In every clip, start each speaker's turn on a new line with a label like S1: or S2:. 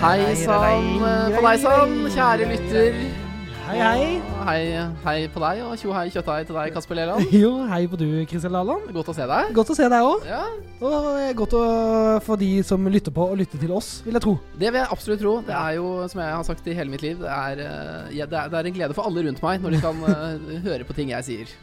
S1: Hei sann eh, på deg sann, kjære lytter.
S2: Hei, hei.
S1: Hei, hei på deg, og tjo hei kjøtthei til deg, Kasper Leland.
S2: Jo, hei på du, Kristel Laland.
S1: Godt å se deg.
S2: Godt å se deg òg.
S1: Ja,
S2: Og eh, godt å, for de som lytter på, å lytte til oss, vil jeg tro.
S1: Det vil jeg absolutt tro. Det er jo, som jeg har sagt i hele mitt liv, det er, eh, ja, det er, det er en glede for alle rundt meg når de kan eh, høre på ting jeg sier.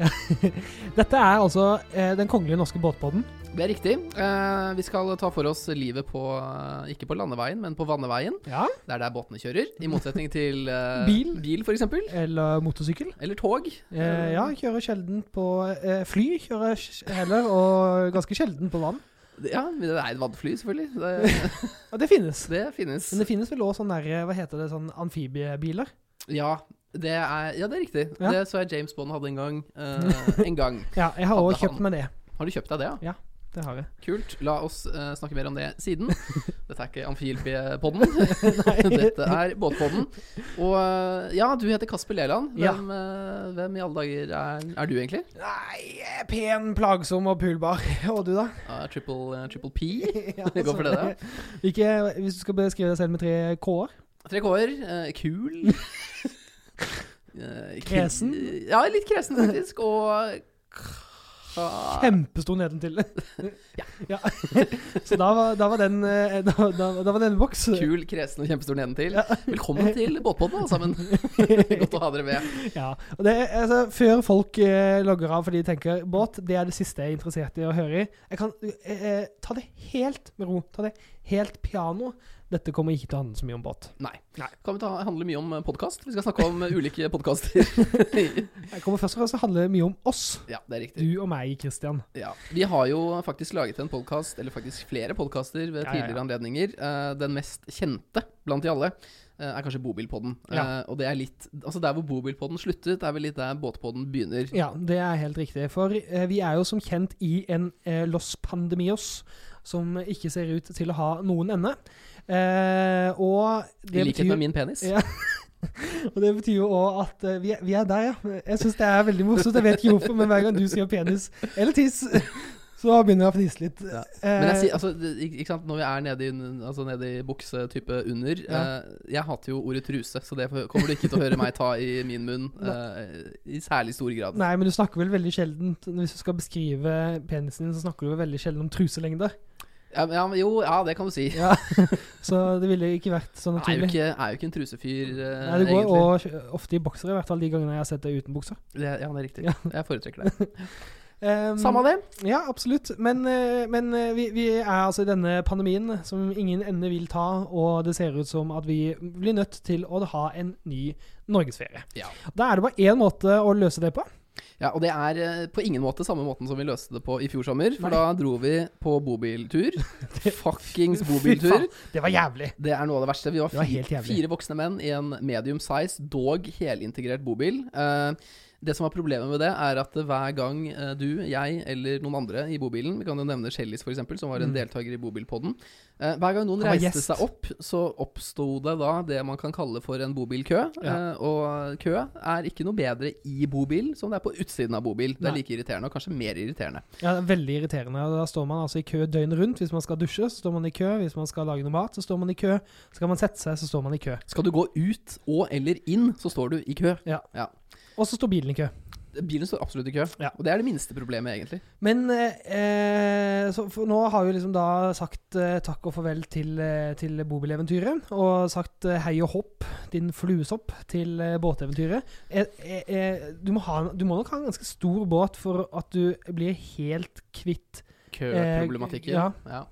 S2: Dette er altså eh, Den kongelige norske båtpodden.
S1: Det er riktig. Eh, vi skal ta for oss livet på eh, ikke på landeveien, men på vanneveien.
S2: Ja.
S1: Det er der båtene kjører, i motsetning til eh,
S2: Bil.
S1: bil f.eks.
S2: Eller motorsykkel.
S1: Eller tog.
S2: Eh, ja, kjører sjelden på eh, fly. Kjører sj- heller, og ganske sjelden på vann.
S1: Ja, men det er et vannfly, selvfølgelig. Det,
S2: Ja, det finnes.
S1: det finnes.
S2: Men det finnes vel òg sånne der, hva heter det, sånn amfibiebiler?
S1: Ja, det er, ja, det er riktig.
S2: Ja.
S1: Det så jeg James Bond hadde en gang. eh, en gang.
S2: Ja, jeg har
S1: Hadde
S2: òg kjøpt
S1: han.
S2: meg det.
S1: Har du kjøpt deg det, ja?
S2: Det har jeg.
S1: Kult. La oss eh, snakke mer om det siden. Dette er ikke Amfilbiepodden. Dette er Båtpodden. Og eh, ja, du heter Kasper Leland.
S2: Ja.
S1: Hvem, eh, hvem i alle dager er, er du egentlig?
S2: Nei, jeg er pen, plagsom og pulbar. Og du, da?
S1: Eh, triple, eh, triple P?
S2: Ja,
S1: Vi går for det, da.
S2: Ikke, hvis du skal beskrive deg selv med tre k-er.
S1: Tre K-er. eh, kul. Eh, kul-
S2: Kresen?
S1: Ja, litt kresen faktisk. Og eh, ka-
S2: Kjempestor nedentil. ja. Så da var, da var den eh, da, da, da var den boks.
S1: Kul, kresen og kjempestor nedentil. Velkommen til Båtpodden, alle sammen. Godt å ha dere med.
S2: Ja. Og det, altså, før folk eh, logger av fordi de tenker båt, det er det siste jeg er interessert i å høre i. Jeg kan eh, eh, ta det helt med ro. Ta det helt piano. Dette kommer ikke til å handle så mye om båt.
S1: Nei.
S2: Nei.
S1: Kan vi ta, handle mye om podkast? Vi skal snakke om eh, ulike podkaster.
S2: Jeg kommer først og fremst til å handle mye om oss.
S1: ja, det er riktig.
S2: Du og meg, Christian.
S1: Ja. Vi har jo faktisk laget en podkast, eller faktisk flere podkaster ved
S2: Ja, ja,
S1: tidligere
S2: ja.
S1: anledninger. Eh, den mest kjente blant de alle eh, er kanskje Bobilpodden. Eh,
S2: Ja.
S1: og det er litt Altså, der hvor Bobilpodden sluttet, er vel litt der Båtpodden begynner.
S2: Ja, det er helt riktig. For eh, vi er jo som kjent i en eh, Los Pandemios som ikke ser ut til å ha noen ende. Eh, og,
S1: I
S2: det
S1: likhet
S2: betyr,
S1: med min penis.
S2: Ja. og det betyr jo òg at eh, vi, er, vi er der, ja. Jeg syns det er veldig morsomt. Jeg vet ikke hvorfor, men hver gang du sier penis eller tiss, så begynner jeg å fnise litt.
S1: Ja.
S2: Eh,
S1: Men jeg sier, altså, det- ikke ikke sant? når vi er nede i, en- altså, nede i buksetype under
S2: Ja.
S1: eh, Jeg hater jo ordet truse, så det kommer du ikke til å høre meg ta i min munn eh, i særlig stor grad.
S2: Nei, men du snakker vel veldig sjelden Hvis du skal beskrive penisen din, så snakker du vel veldig sjelden om truselengder.
S1: Ja, men- ja, men jo, ja, det kan du si. Jeg
S2: Så det ville ikke vært så
S1: er jo
S2: naturlig.
S1: ikke, er jo ikke en trusefyr, eh,
S2: Nei, det går
S1: egentlig.
S2: og ofte i boksere, i hvert fall de gangene jeg har sett deg uten bukser.
S1: Det, ja, det er riktig.
S2: Ja.
S1: Jeg foretrekker det.
S2: Um,
S1: Samme det.
S2: Ja, absolutt. Men, eh, men eh, vi, vi er altså i denne pandemien som ingen ende vil ta, og det ser ut som at vi blir nødt til å ha en ny norgesferie.
S1: Ja.
S2: Da er det bare én måte å løse det på.
S1: ja, Og det er eh, på ingen måte samme måten som vi løste det på i fjor sommer, for
S2: Nei.
S1: da dro vi på bobiltur. Fuckings bobiltur.
S2: faen, det var jævlig.
S1: Det er noe av det verste. Vi var,
S2: Det var
S1: fi-
S2: helt jævlig.
S1: fire voksne menn i en medium size, dog helintegrert bobil. Eh, det som er problemet med det, er at hver gang eh, du, jeg eller noen andre i bobilen Vi kan jo nevne Shellis, f.eks., som var en
S2: Mm.
S1: deltaker i Bobilpodden. Eh, hver gang noen
S2: Han var
S1: reiste
S2: gjest.
S1: seg opp, så oppsto det da det man kan kalle for en bobilkø.
S2: Ja.
S1: Eh, og kø er ikke noe bedre i bobil som det er på utsiden av bobil. Det
S2: Nei.
S1: er like irriterende, og kanskje mer irriterende.
S2: Ja, det er Veldig irriterende. og Da står man altså i kø døgnet rundt. Hvis man skal dusje, så står man i kø. Hvis man skal lage noe mat, så står man i kø. Skal man sette seg, så står man i kø.
S1: Skal du gå ut og eller inn, så står du i kø.
S2: Og så står bilen i kø.
S1: Bilen står absolutt i kø,
S2: Ja.
S1: og det er det minste problemet, egentlig.
S2: Men eh, eh, så for nå har vi liksom da sagt eh, takk og farvel til, eh, til bobileventyret, og sagt eh, hei og hopp, din fluesopp, til eh, båteventyret. Eh, eh, eh, du, må ha, du må nok ha en ganske stor båt for at du blir helt kvitt
S1: Køproblematikken.
S2: Eh, ja.
S1: ja.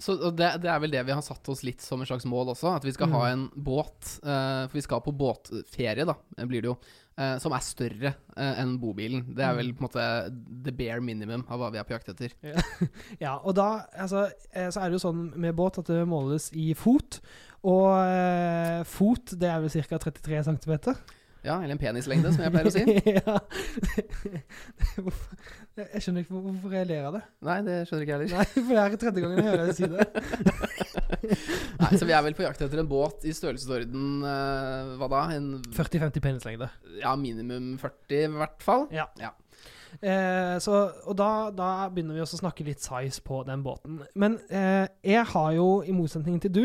S1: Så og det, det er vel det vi har satt oss litt som en slags mål også, at vi skal
S2: Mm.
S1: ha en båt, eh, for vi skal på båtferie, da, eh, blir det jo, eh, som er større eh, enn bobilen. Det
S2: Mm.
S1: er vel på en måte the bare minimum av hva vi er på jakt etter.
S2: Ja, og da altså, eh, så er det jo sånn med båt at det måles i fot, og eh, fot det er vel ca. 33 cm.
S1: Ja, eller en penislengde, som jeg pleier å si.
S2: ja. Hvorfor- jeg skjønner ikke hvor- hvorfor jeg ler av det.
S1: Nei, det skjønner ikke jeg liksom. heller.
S2: Nei, for det er tredje gangen jeg hører deg si det.
S1: Nei, så vi er vel på jakt etter en båt i størrelsesorden eh, hva da? En,
S2: 40-50 penislengde.
S1: ja, minimum 40 i hvert fall.
S2: Ja.
S1: Ja.
S2: Eh, så, og da, da begynner vi også å snakke litt size på den båten. Men eh, jeg har jo, i motsetning til du,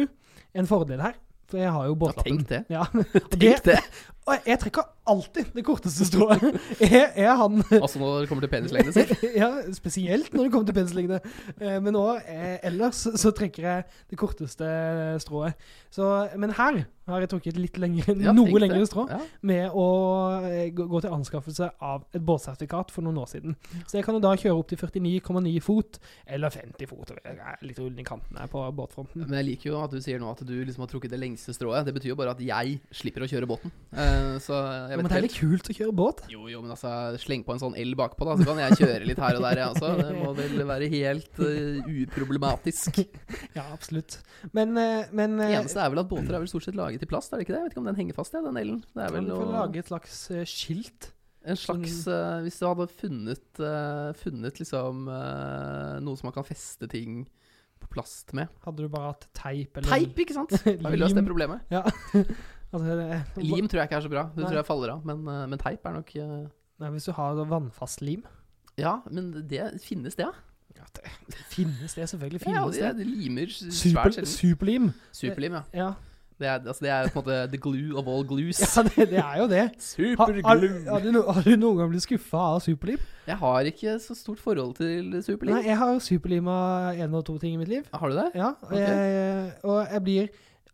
S2: en fordel her. For jeg har jo
S1: Ja,
S2: båtlappen.
S1: tenk det.
S2: Ja,
S1: Tenk det.
S2: og jeg- jeg trekker alltid det korteste strået. Jeg er han
S1: Altså når det kommer til penislengde selv.
S2: ja, spesielt når det kommer til penslingene. Eh, Men òg eh, ellers så trekker jeg det korteste strået. Så, men her har jeg trukket litt lengre,
S1: Ja, tenk
S2: noe
S1: det.
S2: lengre strå
S1: Ja.
S2: med å eh, gå gå til anskaffelse av et båtsertifikat for noen år siden. Så jeg kan jo da kjøre opp til 49,9 fot, eller 50 fot, og jeg er litt rundt i kanten her på båtfronten.
S1: Men jeg liker jo at du sier nå at du liksom har trukket det lengste strået. Det betyr jo bare at jeg slipper å kjøre båten. Eh, så jeg vet
S2: Men
S1: ikke
S2: det er
S1: helt.
S2: litt kult å kjøre båt.
S1: Jo, jo, men altså, sleng på en sånn el bakpå, da, så kan jeg kjøre litt her og der, jeg også. Det må vel være helt eh, uproblematisk.
S2: Ja, absolutt. Men, eh, men
S1: Det
S2: eh,
S1: eneste er vel at båter er vel stort sett laget i plast, er det ikke det? Jeg vet ikke om den henger fast, ja, den elen. Det er vel
S2: du får
S1: å-
S2: lage sånn- et slags eh, skilt.
S1: en slags eh, Hvis du hadde funnet, eh, funnet liksom eh, noe som man kan feste ting på plast med.
S2: Hadde du bare hatt teip eller
S1: Teip, ikke sant? Har vi løst det
S2: Lim.
S1: problemet?
S2: Altså, det-
S1: Lim tror jeg ikke er så bra. Det
S2: Nei.
S1: tror jeg faller av. Men, eh, men teip er nok eh,
S2: Nei, hvis du har da vannfast lim
S1: Ja, men det finnes det, ja.
S2: ja, det, Finnes det, selvfølgelig
S1: ja
S2: finnes
S1: det,
S2: det.
S1: det limer s-
S2: Super,
S1: svært sjelden.
S2: superlim.
S1: Superlim, ja.
S2: Ja,
S1: Det er, altså, det er på en måte the glue of all glues.
S2: ja det, det er jo det. Ha, har, har,
S1: Superglue!
S2: du, no- har du noen gang blitt skuffa av superlim?
S1: Jeg har ikke så stort forhold til
S2: Nei,
S1: superlim.
S2: jeg har superlima én og to ting i mitt liv.
S1: Har du det?
S2: Ja, og
S1: Ok.
S2: jeg, og jeg blir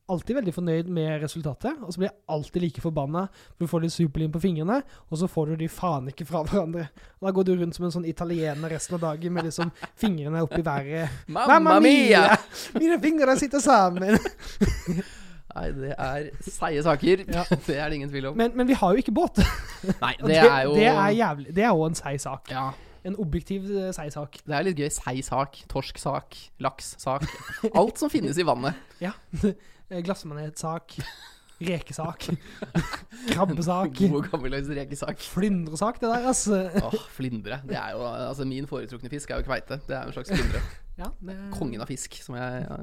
S2: alltid veldig fornøyd med resultatet, og så blir jeg alltid like forbanna. Du får litt superlim på fingrene, og så får du de faen ikke fra hverandre. Og da går du rundt som en sånn italiener resten av dagen med liksom fingrene opp i været.
S1: Mamma mia!
S2: Mine fingre sitter sammen!
S1: Nei, det er seige saker.
S2: Ja.
S1: Det er det ingen tvil om.
S2: Men, men vi har jo ikke båt.
S1: Nei,
S2: Og
S1: det er jo
S2: det er jævlig. Det er jo en seig sak.
S1: ja,
S2: En objektiv eh, seig sak.
S1: det er litt gøy. Seig sak, torsk sak, laks sak. Alt som finnes i vannet.
S2: Eh, Glassmanetsak, rekesak, krabbesak,
S1: God gammeldags rekesak.
S2: flyndresak, det der, altså.
S1: Åh, flindre. Det er jo, altså Min foretrukne fisk er jo kveite. Det er jo en slags flindre.
S2: Ja, det,
S1: Kongen av fisk, som jeg har,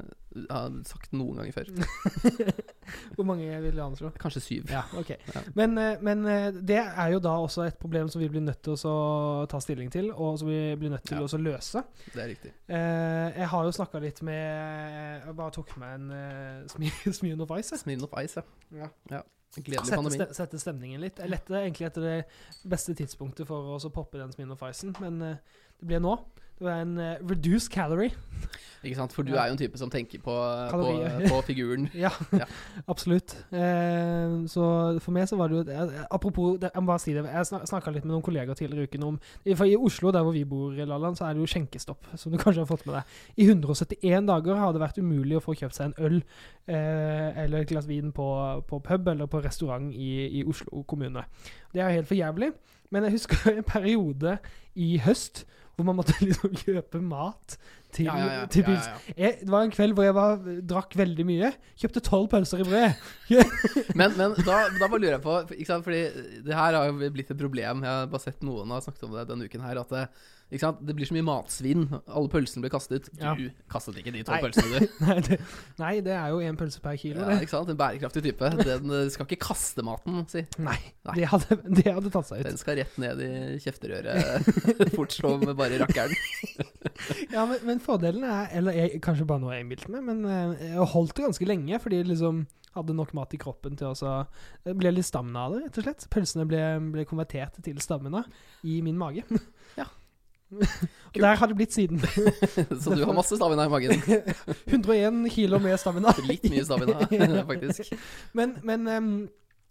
S1: har sagt noen ganger før.
S2: Hvor mange vil du anslå?
S1: Kanskje syv.
S2: Ja, ok.
S1: Ja.
S2: Men, eh, men eh, det er jo da også et problem som vi blir nødt til å så ta stilling til, og som vi blir nødt
S1: Ja.
S2: til å så løse.
S1: Det er riktig.
S2: Eh, jeg har jo snakka litt med Jeg bare tok med en eh, Smi- Smirnov Ice. jeg.
S1: Smirn of Ice,
S2: Ja.
S1: ja. ja. Gledelig
S2: Sette,
S1: pandemi.
S2: ste sette stemningen litt. Jeg lette egentlig etter det beste tidspunktet for å så poppe den Smirnov Icen, men eh, det ble nå. Det var en eh, reduced calorie.
S1: Ikke sant? For du
S2: Ja.
S1: er jo en type som tenker på, på,
S2: Kalorier.
S1: på figuren.
S2: Ja,
S1: Ja.
S2: absolutt. Eh, så for meg så var det jo eh, Apropos, det- jeg må bare si det. Jeg snakka litt med noen kollegaer tidligere i uken om For i Oslo, der hvor vi bor, Lalland, så er det jo skjenkestopp, som du kanskje har fått med deg. I 171 dager har det vært umulig å få kjøpt seg en øl eh, eller et glass vin på, på pub eller på restaurant i, i Oslo kommune. Det er jo helt for jævlig. Men jeg husker en periode i høst hvor man måtte liksom kjøpe mat til,
S1: Ja, ja, ja.
S2: til
S1: ja,
S2: pils.
S1: ja, ja.
S2: Jeg, det var en kveld hvor jeg var, drakk veldig mye. Kjøpte tolv pølser i brød.
S1: Men, men da, da bare lurer jeg på ikke sant? Fordi det her har jo blitt et problem. Jeg har bare sett noen har snakket om det denne uken her. At det, ikke sant? det blir så mye matsvinn. Alle pølsene blir kastet. Du
S2: Ja.
S1: kastet ikke de to
S2: Nei.
S1: pølsene, du.
S2: Nei det, nei, det er jo én pølse per kilo,
S1: Ja,
S2: det.
S1: ikke sant? En bærekraftig type. Den eh, skal ikke kaste maten, si.
S2: Nei,
S1: Nei.
S2: Det, hadde, det hadde tatt seg ut.
S1: Den skal rett ned i kjefterøret fort som bare rakkeren.
S2: Ja, men, men fordelen er, eller jeg, kanskje bare noe jeg innbilte meg, men eh, jeg holdt det ganske lenge fordi jeg liksom hadde nok mat i kroppen til å så- det Ble litt stammen av det, rett og slett. Pølsene ble, ble konvertert til stammene i min mage.
S1: Ja.
S2: Og der har det blitt siden.
S1: Så du har masse stamina i magen.
S2: 101 kilo med stamina.
S1: Litt mye stamina, faktisk.
S2: Men, men ehm,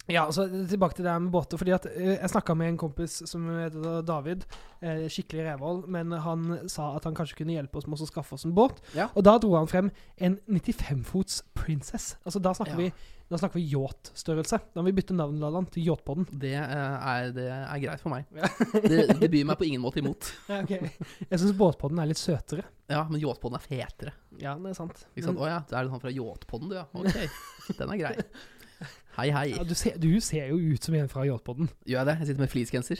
S2: ja, så tilbake til det her med båter. fordi at eh, Jeg snakka med en kompis som heter da David. eh, Skikkelig revhold. Men han sa at han kanskje kunne hjelpe oss med å skaffe oss en båt.
S1: Ja.
S2: Og da dro han frem en 95-fots Princess. Altså Da snakker
S1: Ja.
S2: vi da snakker vi yachtstørrelse. Da må vi bytte navn Lalan, til Yachtpodden.
S1: Det eh, er, det er greit for meg. Det, det byr meg på ingen måte imot.
S2: Jeg syns Båtpodden er litt søtere.
S1: Ja, men yachtpodden er fetere.
S2: Ja, det er sant.
S1: Ikke sant?
S2: Men,
S1: Å ja, det er han fra yachtpodden, du ja. Ok, den er grei. Hei, hei.
S2: ja, du, ser, du ser jo ut som en fra Yachtpodden.
S1: Gjør jeg det? Jeg sitter med fleecegenser.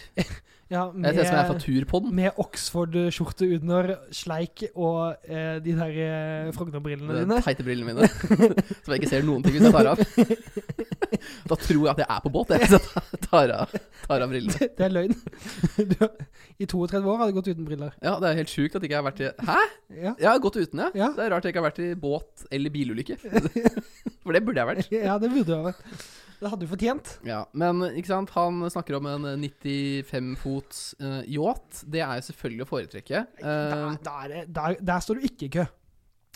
S2: Ja,
S1: Jeg ser ut som jeg er fra turpodden.
S2: med Oxford-skjorte under, sleik og eh, de der eh, Frogner-brillene
S1: Med
S2: dine.
S1: de teite brillene mine. Som jeg ikke ser noen ting hvis jeg tar av. Da tror jeg at jeg er på båt, jeg. Så jeg tar av, tar av brillene.
S2: Det er løgn. Du, har- I 32 år har du gått uten briller.
S1: Ja, det er helt sjukt at ikke jeg har vært i Hæ?
S2: Ja,
S1: Jeg har gått uten, ja.
S2: Ja.
S1: Det er rart jeg ikke har vært i båt eller bilulykke. For det burde jeg vært.
S2: ja det burde du ha vært. Det hadde du fortjent.
S1: Ja, Men ikke sant, han snakker om en 95 fots eh, yacht. Det er jo selvfølgelig å foretrekke.
S2: Da,
S1: Eh,
S2: da er det, der, der står du ikke i kø.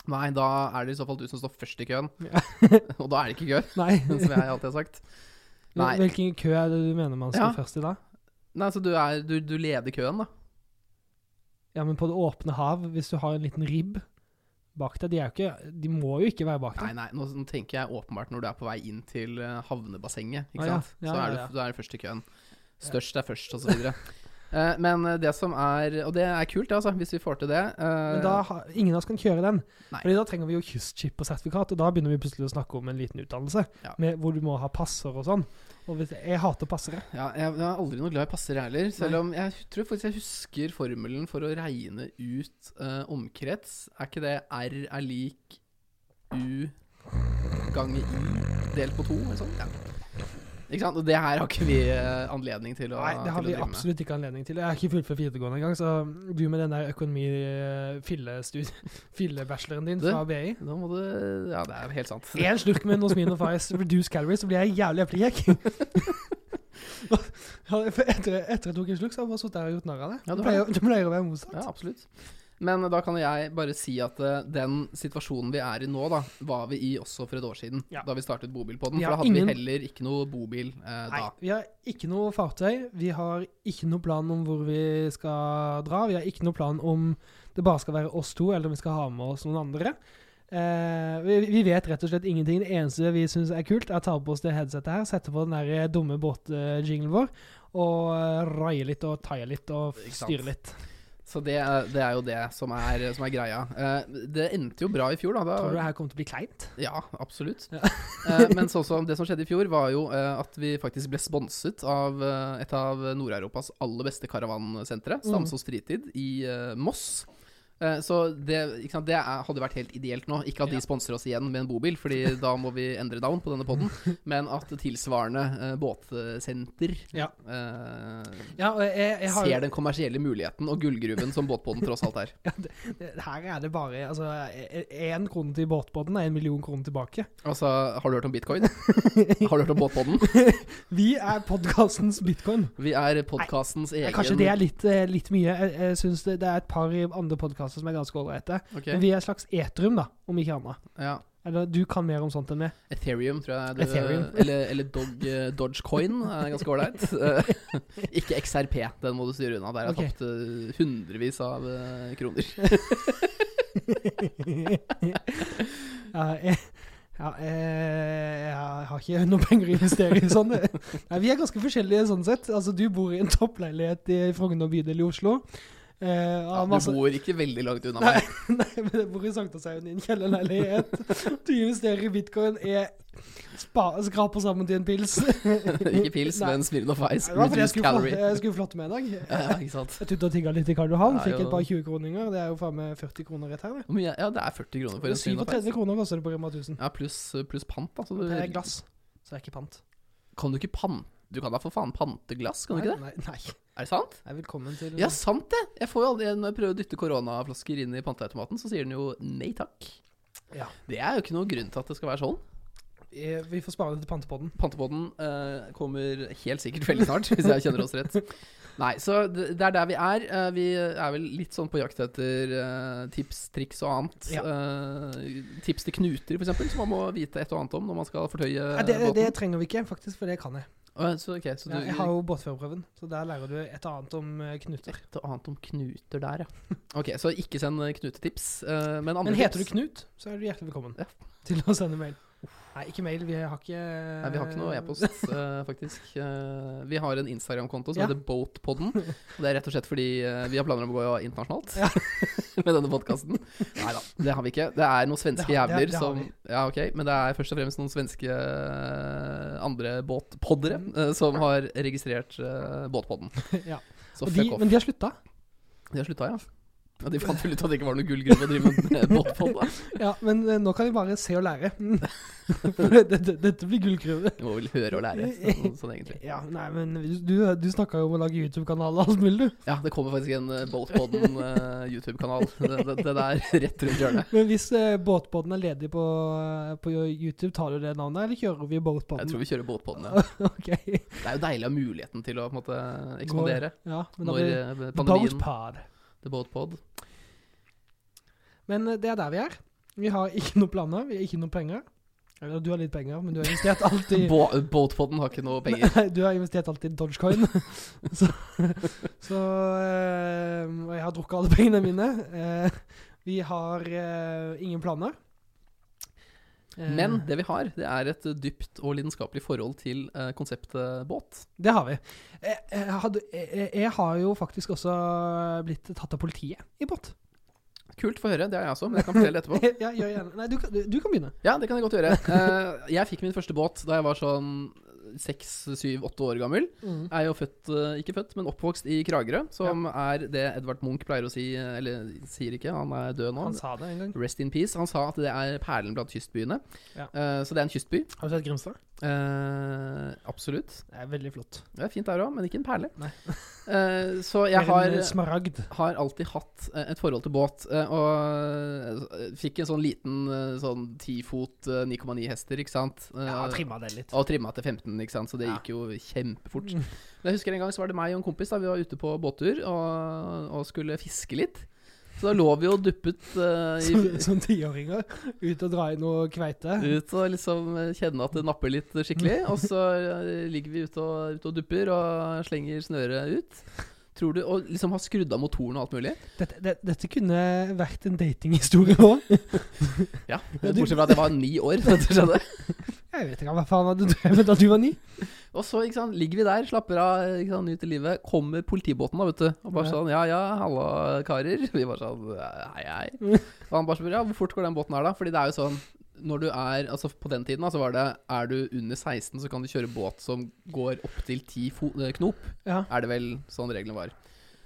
S1: nei, da er det i så fall du som står først i køen.
S2: Ja.
S1: Og da er det ikke kø,
S2: Nei.
S1: som jeg alltid har sagt. Nei.
S2: Hvilken kø er det du mener man står
S1: Ja.
S2: først i da?
S1: Nei, så du, er, du, du leder køen, da.
S2: Ja, men på det åpne hav, hvis du har en liten ribb bak deg De, er jo ikke, de må jo ikke være bak
S1: Nei,
S2: deg.
S1: nei, nå nå tenker jeg åpenbart når du er på vei inn til eh, havnebassenget, ikke
S2: Ah, ja.
S1: sant.
S2: Ja,
S1: så
S2: ja,
S1: er du,
S2: ja.
S1: du er først i køen. Størst er først, og så videre. Eh, men eh, det som er Og det er kult, altså, hvis vi får til det. eh,
S2: Men da, ha- ingen av oss kan kjøre den.
S1: Nei.
S2: Fordi da trenger vi jo kystskip og sertifikat, og da begynner vi plutselig å snakke om en liten utdannelse
S1: Ja.
S2: med, hvor du må ha passer og sånn. Og hvis, jeg hater passere.
S1: Ja, jeg, jeg er aldri noe glad i passer jeg heller. Selv om jeg tror faktisk jeg husker formelen for å regne ut eh, omkrets. Er ikke det R er lik U ganger I delt på to, eller sånt? Ja. Ikke sant? Og det her har ikke vi eh, anledning til å,
S2: Nei, det har
S1: til å
S2: vi
S1: drive med.
S2: absolutt ikke anledning til. Jeg har ikke fullført videregående engang, så du med den der økonomi-fillebacheloren din
S1: Du?
S2: fra BI
S1: Nå må du Ja, det er helt sant.
S2: Én slurk med Nosmino Fives reduced calories, så blir jeg jævlig eplekjekk. Ja, for etter, etter jeg tok en slurk, så har jeg bare sittet her og gjort narr av det.
S1: Ja, du
S2: det,
S1: har
S2: pleier, det pleier å være motsatt.
S1: Ja, absolutt. Men da kan jeg bare si at eh, den situasjonen vi er i nå, da, var vi i også for et år siden.
S2: Ja.
S1: Da vi startet bobilpodden.
S2: Ja,
S1: For da hadde
S2: ingen-
S1: vi heller ikke noe bobil eh,
S2: Nei,
S1: da.
S2: vi har ikke noe fartøy. Vi har ikke noe plan om hvor vi skal dra. Vi har ikke noe plan om det bare skal være oss to, eller om vi skal ha med oss noen andre. Eh, vi, vi vet rett og slett ingenting. Det eneste vi syns er kult, er å ta på oss det headsetet her, sette på den der eh, dumme båtjinglen vår, og eh, raie litt og taie litt og
S1: Ikke sant.
S2: styre litt.
S1: Så det, er- det er jo det som er, som er greia. Eh, det endte jo bra i fjor, da. da
S2: Tror du det her kommer til å bli kleint?
S1: Ja, absolutt. Eh, men sånn som det som skjedde i fjor, var jo eh, at vi faktisk ble sponset av eh, et av Nord-Europas aller beste karavansentre,
S2: Mm.
S1: Stamsås Fritid i eh, Moss. Eh, så det, ikke sant, det er, hadde vært helt ideelt nå. Ikke at de
S2: Ja.
S1: sponser oss igjen med en bobil, Fordi da må vi endre navn på denne poden, men at tilsvarende eh, båtsenter
S2: Ja.
S1: eh,
S2: Ja, og jeg, jeg har,
S1: ser den kommersielle muligheten og gullgruven som båtpodden tross alt er.
S2: her er det bare altså, én krone til båtbåten er en million kroner tilbake.
S1: Altså, har du hørt om bitcoin? Har du hørt om båtpodden?
S2: Vi er podkastens bitcoin.
S1: Vi er podkastens
S2: Ja,
S1: egen
S2: Kanskje det er litt, eh, litt mye. Jeg, jeg synes det, det er et par andre podkaster som er ganske ålreite.
S1: Ok,
S2: Men vi er et slags etrum, da, om ikke annet.
S1: ja.
S2: Eller du kan mer om sånt enn meg.
S1: Ethereum, tror jeg. Du,
S2: Ethereum.
S1: Eller, eller dog, eh, Dogecoin er ganske ålreit. Eh, Ikke XRP, den må du styre unna. Der har jeg
S2: Ok.
S1: tapt eh, hundrevis av eh, kroner.
S2: Ja, jeg, ja, eh, jeg har ikke noe penger å investere i sånn. Nei, vi er ganske forskjellige sånn sett. Altså, du bor i en toppleilighet i Frogner bydel i Oslo. Eh, og
S1: Ja,
S2: har
S1: du
S2: masse-
S1: bor ikke veldig langt unna
S2: Nei,
S1: meg.
S2: nei, men jeg bor i Sankthanshaugen i en kjellerleilighet. Du investerer i bitcoin, jeg spa, skraper sammen til en pils.
S1: ikke pils,
S2: Nei.
S1: men Smirnoff Ice.
S2: Det var fordi jeg
S1: Reduced
S2: skulle, fla-
S1: calorie.
S2: jeg skulle flotte med i dag.
S1: Ja, ja, ikke sant.
S2: Jeg tutta og tigga litt i Karl Johan,
S1: Ja,
S2: fikk
S1: jo.
S2: et par 20-kroninger. Det er jo faen meg 40 kroner rett her. det.
S1: Hvor mye er- Ja, det er 40 kroner for en Smirnoff Ice.
S2: 37 kroner koster det på Rema 1000.
S1: Ja, pluss pluss pant, da. Så du,
S2: Det er glass, så det er ikke pant.
S1: Kan du ikke pante Du kan da for faen pante glass, kan du ikke det?
S2: Nei, nei, nei.
S1: Er det sant?
S2: Nei, velkommen til
S1: Ja, sant det! Jeg får jo aldri, Når jeg prøver å dytte koronaflasker inn i panteautomaten, så sier den jo nei takk.
S2: Ja.
S1: Det er jo ikke noen grunn til at det skal være sånn.
S2: Eh, Vi får spare det til pantepodden.
S1: Pantepodden eh, kommer helt sikkert veldig snart, hvis jeg kjenner oss rett. Nei, så det det er der vi er. Eh, vi er vel litt sånn på jakt etter eh, tips, triks og annet.
S2: Ja.
S1: Eh, tips til knuter, f.eks., som man må vite et og annet om når man skal fortøye
S2: Nei, det,
S1: Eh, båten.
S2: det trenger vi ikke, faktisk, for det kan jeg.
S1: Eh, så, ok, så du,
S2: Ja, Jeg har jo båtførerprøven, så der lærer du et og annet om eh, knuter.
S1: Et og annet om knuter der, ja. Ok, så ikke send knutetips. eh, men andre
S2: Men heter du
S1: tips
S2: Knut, så er du hjertelig velkommen
S1: Ja.
S2: til å sende mail. Nei, ikke mail. Vi har ikke
S1: Nei, vi har ikke noe e-post, eh, faktisk. Eh, vi har en Instagram-konto som
S2: Ja.
S1: heter Boatpodden. Og det er rett og slett fordi eh, vi har planer om å gå internasjonalt med denne podkasten. Nei da, det har vi ikke. Det er noen svenske
S2: Det har- det-
S1: jævler
S2: det har
S1: som
S2: vi.
S1: Ja, ok, men det er først og fremst noen svenske eh, andre båtpoddere
S2: Mm.
S1: eh, som har registrert eh, Båtpodden.
S2: Ja.
S1: Så
S2: Og
S1: fuck
S2: de,
S1: off.
S2: men de har slutta.
S1: De har slutta, ja. Ja, de fant vel ut at det ikke var noe gullgruve å drive med båt på. da.
S2: Ja, men eh, nå kan vi bare se og lære. Mm. For det- det- Dette blir gullgruve.
S1: Vi må vel høre og lære, sånn, sånn egentlig.
S2: Ja, nei, men du, du snakka jo om å lage YouTube-kanal og alt mulig, du.
S1: Ja, det kommer faktisk en eh, Boltpodden eh, YouTube-kanal. Det, det, det der rett rundt hjørnet.
S2: Men hvis eh, båtbåten er ledig på, eh, på YouTube, tar du det navnet, eller kjører vi båtbåten?
S1: Jeg tror vi kjører Boltpodden, ja.
S2: Ok.
S1: Det er jo deilig å ha muligheten til å på en måte, ekspandere
S2: Ja, men da
S1: når
S2: blir
S1: eh, pandemien
S2: Boatpod.
S1: The Boltpod.
S2: Men eh, det er der vi er. Vi har ikke noe planer, vi har ikke noe penger. Eller du har litt penger, men du har investert alt i
S1: Bo Boltpodden har ikke noe penger.
S2: Nei, du har investert alt i Dogecoin. så så eh, Og jeg har drukket alle pengene mine. Eh, vi har eh, ingen planer. Eh,
S1: Men det vi har, det er et eh, dypt og lidenskapelig forhold til eh, konseptet båt.
S2: Det har vi. Jeg, jeg, hadde, jeg, jeg har jo faktisk også blitt tatt av politiet i båt.
S1: Kult for å høre, det har jeg også, men jeg kan fortelle etterpå.
S2: ja, gjør gjerne. Nei, du kan, du, du kan begynne.
S1: Ja, det kan jeg godt gjøre. Eh, jeg fikk min første båt da jeg var sånn seks, syv, åtte år gammel.
S2: Mm.
S1: Jeg er jo født, eh, ikke født, men oppvokst i Kragerø, som er det Edvard Munch pleier å si, eh, eller sier ikke, han er død nå.
S2: Han sa det en gang.
S1: Rest in peace. Han sa at det er perlen blant kystbyene.
S2: Ja.
S1: Eh, så det er en kystby.
S2: Har du sett Grimstad?
S1: Eh, absolutt.
S2: Det er veldig flott.
S1: Det er fint der òg, men ikke en perle.
S2: Nei.
S1: Eh, så
S2: Det
S1: jeg
S2: er
S1: har
S2: en smaragd.
S1: har alltid hatt eh, et forhold til båt, eh, og eh, fikk en sånn liten eh, sånn 10 fot eh, 9,9 hester, ikke sant? Eh,
S2: Ja, trimma det litt.
S1: og trimma til 15, ikke sant? så det
S2: Ja.
S1: gikk jo kjempefort.
S2: Mm.
S1: Men jeg husker en gang så var det meg og en kompis, da vi var ute på båttur og, og skulle fiske litt. Så da lå vi og duppet eh, i,
S2: Som, som tiåringer. Ut og dra i noe kveite.
S1: ut og liksom eh, kjenne at det napper litt skikkelig. Og så eh, ligger vi ute og, ute og dupper og slenger snøret ut. Tror du, Og liksom har skrudd av motoren og alt mulig.
S2: Dette, det, dette kunne vært en datinghistorie òg.
S1: Ja,
S2: Ja, du-
S1: Bortsett fra at jeg var ni år. da dette skjedde.
S2: Jeg vet ikke hva faen hadde drevet da du var ni.
S1: Og så ikke sant, ligger vi der, slapper av, ikke sant, nyter livet. Kommer politibåten, da, vet du. Og bare
S2: Ja.
S1: sånn Ja ja, halla, karer. Vi bare sånn Hei, hei. Og han bare spør ja, hvor fort går den båten her, da? Fordi det er jo sånn når du er, altså På den tiden da, så var det er du under 16, så kan du kjøre båt som går opptil 10 fo eh, knop.
S2: Ja.
S1: Er det vel sånn reglene var.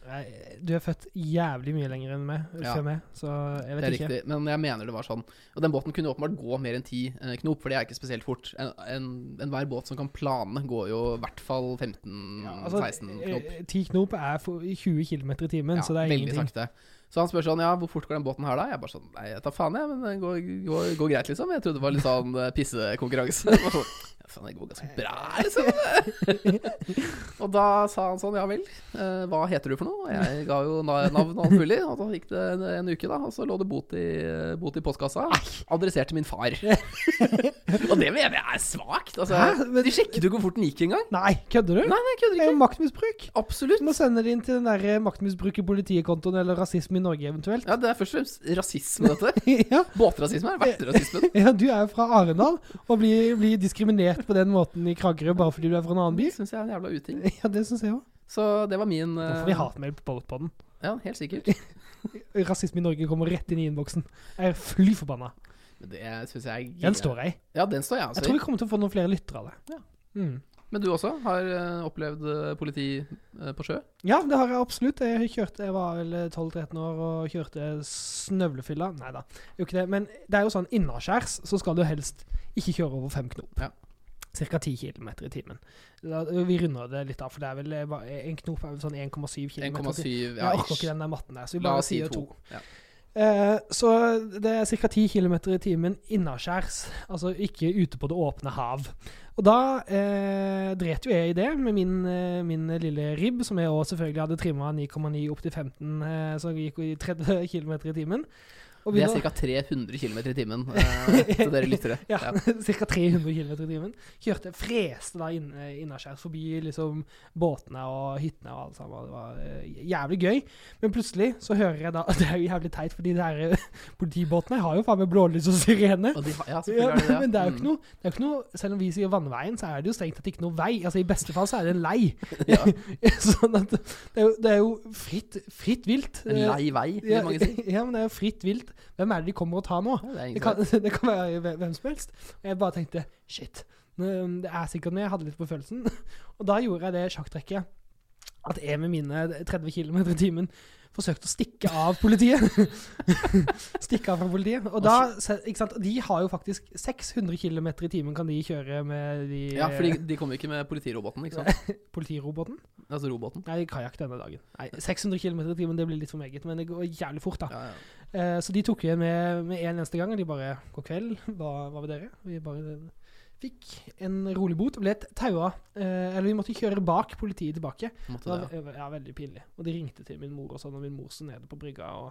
S2: Nei, Du er født jævlig mye lenger enn meg,
S1: Ja.
S2: før meg, så jeg
S1: Det er
S2: vet ikke.
S1: riktig, men jeg mener det var sånn. Og den båten kunne åpenbart gå mer enn 10 eh, knop, for det er ikke spesielt fort. En- en- Enhver båt som kan plane, går jo i hvert fall 15-16
S2: Ja, altså,
S1: Mm, knop.
S2: eh, 10 knop er for 20 km i timen, så det er
S1: veldig
S2: ingenting.
S1: sakte. Så han spør sånn, ja, hvor fort går den båten her da? Jeg bare sånn, nei, jeg tar faen jeg, men det går, går, går greit liksom. Jeg trodde det var litt sånn eh, pissekonkurranse. Jeg bare Sånn, ja, faen, det går ganske bra, liksom. og da sa han sånn, ja vel, eh, hva heter du for noe? Og jeg ga jo na- navn og alt mulig, og så gikk det en, en uke da, og så lå det bot i, bot i postkassa. Adressert til min far. og det mener jeg er svakt, altså.
S2: Hæ? Men-
S1: De sjekket jo ikke hvor fort den gikk engang.
S2: Nei, kødder du?
S1: Nei, nei, jeg
S2: det
S1: kødder
S2: er jo
S1: ikke.
S2: maktmisbruk.
S1: Absolutt.
S2: Du må sende det inn til den der eh, maktmisbruk i politikontoen eller rasisme i Norge eventuelt.
S1: Ja, det er først og fremst rasisme, dette.
S2: ja.
S1: Båtrasisme er verterasismen.
S2: ja, du er jo fra Arendal og blir, blir diskriminert på den måten i Kragerø bare fordi du er fra en annen by.
S1: Det syns jeg er en jævla uting.
S2: Ja, det syns jeg òg.
S1: Så det var min
S2: Nå
S1: eh,
S2: får vi hatmail på Boatpodden.
S1: Ja, helt sikkert.
S2: Rasisme i Norge kommer rett inn i innboksen. Jeg er fly forbanna.
S1: Men det syns jeg er
S2: Den står jeg i.
S1: Ja, den står jeg
S2: Jeg tror
S1: også
S2: vi kommer til å få noen flere lyttere av det.
S1: Ja.
S2: Mm.
S1: i. Men du også har eh, opplevd eh, politi eh, på sjø?
S2: Ja, det har jeg absolutt. Jeg, kjørte, jeg var vel 12-13 år og kjørte snøvlefylla. Nei da, jo ikke det. Men det er jo sånn innaskjærs så skal du helst ikke kjøre over fem knop.
S1: Ja.
S2: Ca. 10 km i timen. Da, vi runder det litt av, for det er vel eh, hva- en knop er vel sånn 1,7 km.
S1: 1,7 ja,
S2: Jeg orker
S1: ish.
S2: ikke den der matten der, så vi
S1: La
S2: bare
S1: oss si
S2: sier
S1: to.
S2: to.
S1: Ja.
S2: Eh, så det er ca. 10 km i timen innaskjærs, altså ikke ute på det åpne hav. Og da eh, dret jo jeg i det med min, eh, min lille ribb, som jeg også selvfølgelig hadde trimma 9,9 opp til 15, eh, så jeg gikk jo i 30 km i timen. Og
S1: Det
S2: begynner-
S1: er ca. 300 km i timen eh, til dere lyttere.
S2: ja, ca. 300 km i timen. Kjørte, freste da inn- eh, innaskjærs forbi liksom båtene og hyttene og alt sammen. Det var eh, jævlig gøy. Men plutselig så hører jeg da Det er jo jævlig teit, for de der eh, politibåtene har jo faen meg blålys og sirene.
S1: Og de, har- ja,
S2: Ja,
S1: selvfølgelig er det det.
S2: men det er jo
S1: Mm.
S2: ikke noe, det er jo ikke noe Selv om vi sier vannveien, så er det jo strengt tatt ikke noe vei. Altså I beste fall så er det en lei.
S1: Ja,
S2: sånn at det er jo, det er jo fritt, fritt vilt.
S1: en lei vei, vil mange si.
S2: Ja, ja, men det er jo fritt vilt. Hvem er det de kommer og tar nå?
S1: Ja, det er
S2: Det
S1: ingen
S2: kan,
S1: som vet.
S2: det kan være hve- hvem som helst. Og jeg bare tenkte shit. nå- Det er sikkert noe jeg hadde litt på følelsen. Og da gjorde jeg det sjakktrekket at jeg med mine 30 km i timen forsøkt å stikke av politiet. stikke av fra politiet. Og da, se- ikke sant, de har jo faktisk 600 km i timen kan de kjøre med de eh,
S1: Ja, for de, de kommer ikke med politiroboten, ikke sant?
S2: politiroboten.
S1: Altså roboten.
S2: Nei, kajakk denne dagen. Nei, 600 km i timen, det blir litt for meget, men det går jævlig fort, da.
S1: Ja, ja.
S2: Eh, så de tok igjen med, med en eneste gang, og de bare 'God kveld, hva, hva med dere?' Vi bare fikk en rolig bot, ble taua. Eh, eller vi måtte kjøre bak politiet tilbake. Det
S1: Måtte
S2: var
S1: det.
S2: ja, veldig pinlig. Og de ringte til min mor og sånn, og min mor så nede på brygga, og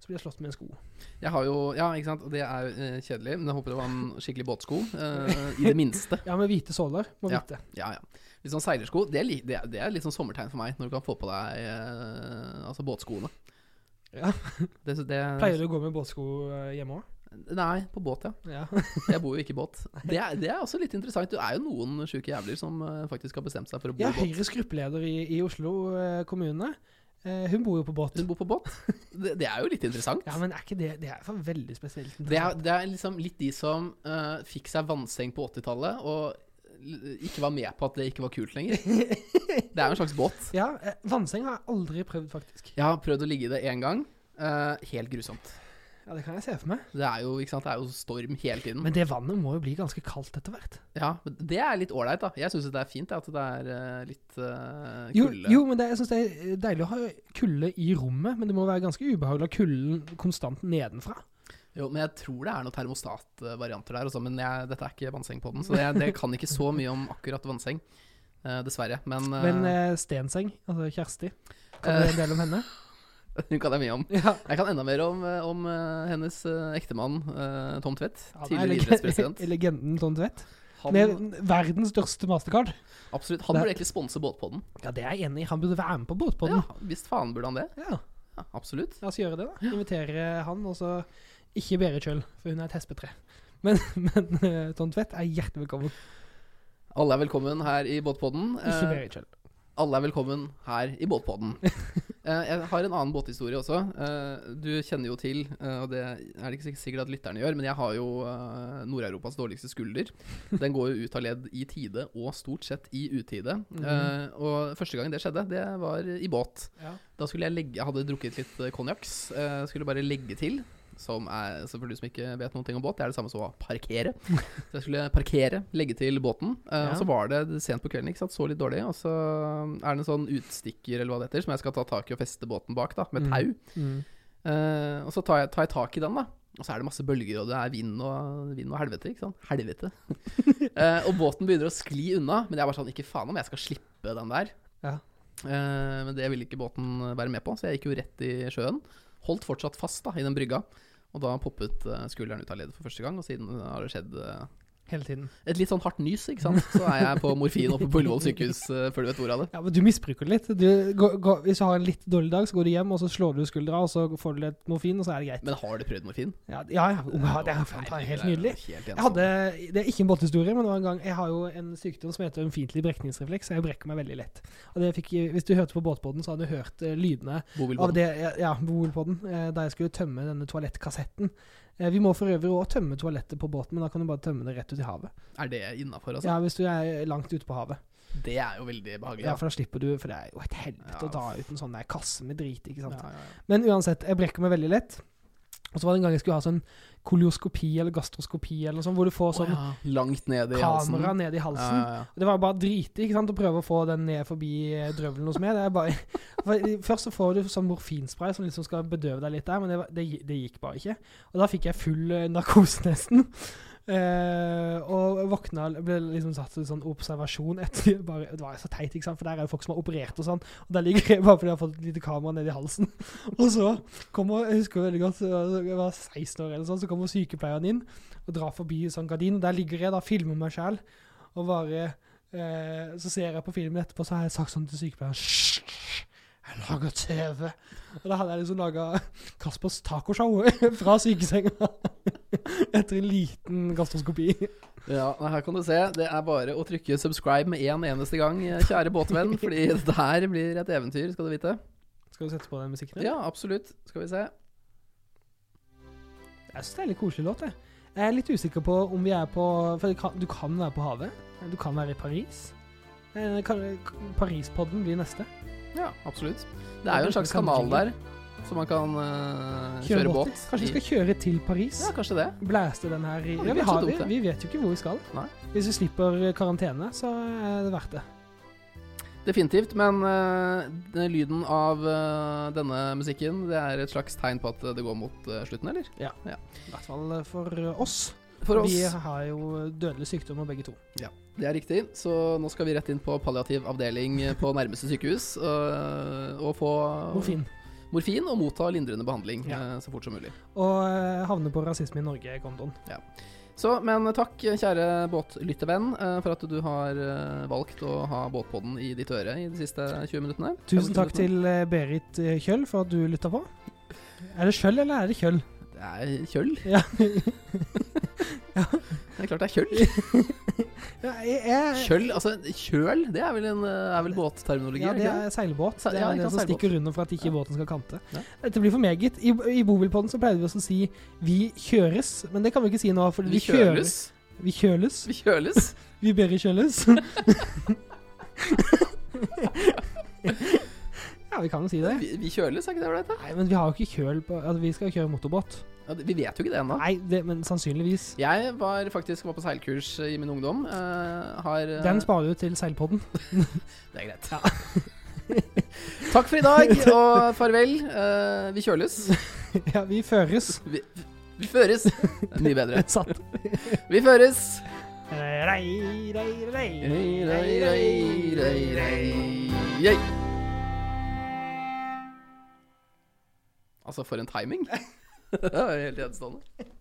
S2: så ble jeg slått med en sko.
S1: ja. Jeg har jo Ja, ikke sant. Og det er eh, kjedelig, men jeg håper det var en skikkelig båtsko. eh, I det minste.
S2: Ja, med hvite såler, må
S1: Ja.
S2: vite.
S1: Ja, ja. Litt sånn seilersko. Det er, li, det, er- det er litt sånn sommertegn for meg, når du kan få på deg eh, altså båtskoene.
S2: Ja.
S1: Det, det,
S2: Pleier du å gå med båtsko eh, hjemme òg?
S1: Nei, på båt, ja.
S2: Ja.
S1: Jeg bor jo ikke i båt. Det er, det er også litt interessant. Det er jo noen sjuke jævler som eh, faktisk har bestemt seg for å bo
S2: ja,
S1: i båt.
S2: Høyres gruppeleder i, i Oslo eh, kommune, eh, hun bor jo på båt.
S1: Hun bor på båt. Det, det er jo litt interessant.
S2: Ja, men er ikke det Det er for veldig spesielt.
S1: det, er, det er liksom litt de som eh, fikk seg vannseng på 80-tallet, og l- ikke var med på at det ikke var kult lenger. Det er jo en slags båt.
S2: Ja, eh, vannseng har jeg aldri prøvd, faktisk.
S1: Jeg har prøvd å ligge i det én gang. Eh, helt grusomt.
S2: Ja, Det kan jeg se for meg.
S1: Det er jo, ikke sant? Det er jo storm hele tiden.
S2: Men det vannet må jo bli ganske kaldt etter hvert.
S1: Ja, men det er litt ålreit, da. Jeg syns det er fint at det er eh, litt eh,
S2: Jo,
S1: kulde.
S2: jo men det, jeg syns det er deilig å ha kulde i rommet, men det må være ganske ubehagelig å ha kulden konstant nedenfra.
S1: Jo, men jeg tror det er noen termostatvarianter der, også, men jeg, dette er ikke vannseng på den. Så det, det kan ikke så mye om akkurat vannseng, eh, dessverre. Men, eh,
S2: Men eh, Stenseng, altså Kjersti, kan du en del om henne? eh,
S1: hun kan jeg mye om.
S2: Ja.
S1: Jeg kan enda mer om, eh, om eh, hennes eh, ektemann eh, Tom Tvedt.
S2: Han er
S1: tidligere
S2: leg-
S1: idrettspresident.
S2: Legenden sånn Tom Tvedt.
S1: Han,
S2: Med verdens største mastercard.
S1: absolutt, han burde egentlig sponse båtpodden.
S2: Ja, det er jeg enig i. Han burde være med på båtpodden.
S1: Ja, visst faen burde han det.
S2: Ja.
S1: Ja, absolutt.
S2: La oss gjøre det, da. Invitere han, og så ikke Berit Kjøll, for hun er et hespetre. Men, men eh, Tom Tvedt er hjertelig velkommen.
S1: Alle er velkommen her i båtpodden.
S2: Ikke
S1: Eh,
S2: Berit Kjøll.
S1: Alle er velkommen her i båtpodden. Eh, jeg har en annen båthistorie også. Eh, du kjenner jo til, eh, og det er det ikke sikkert at lytterne gjør, men jeg har jo eh, Nord-Europas dårligste skulder. Den går jo ut av ledd i tide, og stort sett i utide.
S2: Mhm.
S1: Eh, og første gang det skjedde, det var i båt.
S2: Ja.
S1: Da skulle jeg legge Jeg hadde drukket litt eh, konjakks. eh, skulle bare legge til. Som er, så for du som ikke vet noen ting om båt, det er det samme som å parkere. Så jeg skulle parkere, legge til båten. eh,
S2: Ja.
S1: Og så var det sent på kvelden, ikke sant? så litt dårlig. Og så er det en sånn utstikker eller hva det heter, som jeg skal ta tak i og feste båten bak, da, med
S2: Mm.
S1: tau.
S2: Mm.
S1: Eh, og så tar jeg, tar jeg tak i den, da. Og så er det masse bølger, og det er vind og, vind og helvete. ikke sant? Helvete. Eh, og båten begynner å skli unna, men jeg var sånn Ikke faen om jeg skal slippe den der.
S2: Ja.
S1: Eh, men det ville ikke båten være med på, så jeg gikk jo rett i sjøen. Holdt fortsatt fast da, i den brygga. Og da poppet eh, skulderen ut av leddet for første gang, og siden har det skjedd eh,
S2: Hele tiden.
S1: et litt sånn hardt nys, ikke sant. Så er jeg på morfin oppe på Ullevål sykehus eh, før du vet ordet av det.
S2: Ja, men du misbruker det litt. Du, går, går, hvis du har en litt dårlig dag, så går du hjem, og så slår du skuldra, og så får du litt morfin, og så er det greit.
S1: Men har du prøvd morfin?
S2: Ja, ja, ja, om jeg har- det er faen, det er helt nydelig. Jeg hadde, det er ikke en båthistorie, men det var en gang, jeg har jo en sykdom som heter ømfintlig brekningsrefleks, så jeg brekker meg veldig lett. Og det fikk, hvis du hørte på båtpodden, så hadde du hørt eh, lydene av
S1: Bobilbåten.
S2: det, ja, Bobilpodden, eh, da jeg skulle tømme denne toalettkassetten. Eh, Vi må for øvrig òg tømme toalettet på båten, men da kan du bare tømme det rett ut i havet.
S1: Er det innafor, altså?
S2: Ja, Hvis du er langt ute på havet.
S1: Det er jo veldig behagelig.
S2: Ja, for da slipper du, for det er jo et helvete
S1: Ja.
S2: å ta ut en sånn der kasse med drit, ikke sant.
S1: Ja, ja, ja.
S2: Men uansett, jeg brekker meg veldig lett. Og så var det en gang jeg skulle ha sånn kolioskopi eller gastroskopi eller noe sånt, hvor du får sånn
S1: Langt ned i halsen.
S2: kamera ned i halsen.
S1: Ja, ja, ja.
S2: Og Det var jo bare driti ikke sant, å prøve å få den ned forbi eh, drøvelen hos meg. Det er bare, for, først så får du sånn morfinspray som liksom skal bedøve deg litt der, men det, var- det, gi- det gikk bare ikke. Og da fikk jeg full eh, narkose nesten. Eh, og våkna ble liksom satt i sånn observasjon etter bare, Det var jo så teit, ikke sant? for der er jo folk som har operert og sånn. Og der ligger jeg bare fordi jeg har fått et lite kamera nedi halsen. Og så kommer, jeg husker veldig godt, jeg var 16 år eller sånn, så kommer sykepleieren inn og drar forbi en sånn gardin. Og der ligger jeg da, filmer meg sjæl, og bare Eh, så ser jeg på filmen etterpå, så har jeg sagt sånn til sykepleieren Hysj! Jeg lager TV! Og da hadde jeg liksom laga Kaspers tacoshow fra sykesenga. Etter en liten gastroskopi.
S1: Ja, nei, her kan du se. Det er bare å trykke 'subscribe' med én eneste gang, eh, kjære båtvenn, fordi dette her blir et eventyr, skal du vite.
S2: Skal du sette på den musikken?
S1: Ja, absolutt. Skal vi se.
S2: Jeg syns det er en litt koselig låt, jeg. Jeg er litt usikker på om vi er på For det kan, du kan være på havet. Du kan være i Paris. Eh, kan- Parispodden blir neste.
S1: Ja, absolutt. Det er jo en slags kanal der, så man kan eh,
S2: Kjøre
S1: kjøre
S2: båt.
S1: båt.
S2: Kanskje vi
S1: i-
S2: skal kjøre til Paris?
S1: Ja, kanskje det.
S2: Blæste den her i
S1: Ja, det
S2: Ja,
S1: blir
S2: vi,
S1: ikke så
S2: har, vi,
S1: dumt, det.
S2: vi vet jo ikke hvor vi skal.
S1: Nei.
S2: Hvis vi slipper eh, karantene, så er det verdt det.
S1: Definitivt. Men eh, den lyden av eh, denne musikken, det er et slags tegn på at det går mot eh, slutten, eller?
S2: I hvert fall eh, for oss.
S1: For oss.
S2: Vi har jo dødelige sykdommer begge to.
S1: Det er riktig. Så nå skal vi rett inn på palliativ avdeling på nærmeste sykehus øh, og, og få
S2: Morfin.
S1: morfin og motta lindrende behandling
S2: Ja.
S1: eh, så fort som mulig.
S2: Og eh, havne på Rasisme i Norge-kontoen.
S1: Så, men takk, kjære båtlyttervenn, eh, for at du har eh, valgt å ha båtpodden i ditt øre i de siste 20 minuttene.
S2: Tusen
S1: 25
S2: takk
S1: minuttene.
S2: til eh, Berit eh, Kjøll for at du lytta på. Er det Kjøll, eller er det Kjøll?
S1: Det er kjøll.
S2: Ja.
S1: Det er klart det er kjøll.
S2: Ja, jeg, jeg,
S1: Kjøll, altså kjøl, det er vel, en, eh, er vel båtterminologi?
S2: ja,
S1: er
S2: det
S1: ikke det?
S2: er seilbåt.
S1: Se-
S2: Det
S1: ja,
S2: er
S1: ikke
S2: det
S1: sant,
S2: som
S1: seilbåt.
S2: stikker under for at ikke
S1: Ja.
S2: båten skal kante.
S1: Ja.
S2: Dette blir for meget. I, i Bobilpodden så pleide vi å si 'vi kjøres', men det kan vi ikke si nå. For vi,
S1: Vi kjøles.
S2: kjøres. Vi kjøles.
S1: Vi kjøles.
S2: Vi ber i kjøles. ja, vi kan jo si det.
S1: Vi, vi kjøles, er ikke det ålreit? da?
S2: Nei, men vi har jo ikke kjøl på altså, Vi skal jo kjøre motorbåt.
S1: Ja, det- Vi vet jo ikke det ennå.
S2: Nei, det, men sannsynligvis.
S1: Jeg var faktisk var på seilkurs eh, i min ungdom. eh, har, eh,
S2: Den sparer du til seilpodden.
S1: det er greit. Takk for i dag, og farvel. Eh, vi kjøles.
S2: ja, vi føres.
S1: Vi, vi føres. Det er mye bedre.
S2: Satt.
S1: Vi føres.
S2: Rei, rei, rei.
S1: Rei, rei, rei, rei, rei. Yay. Altså, for en timing. Det er Helt enestående.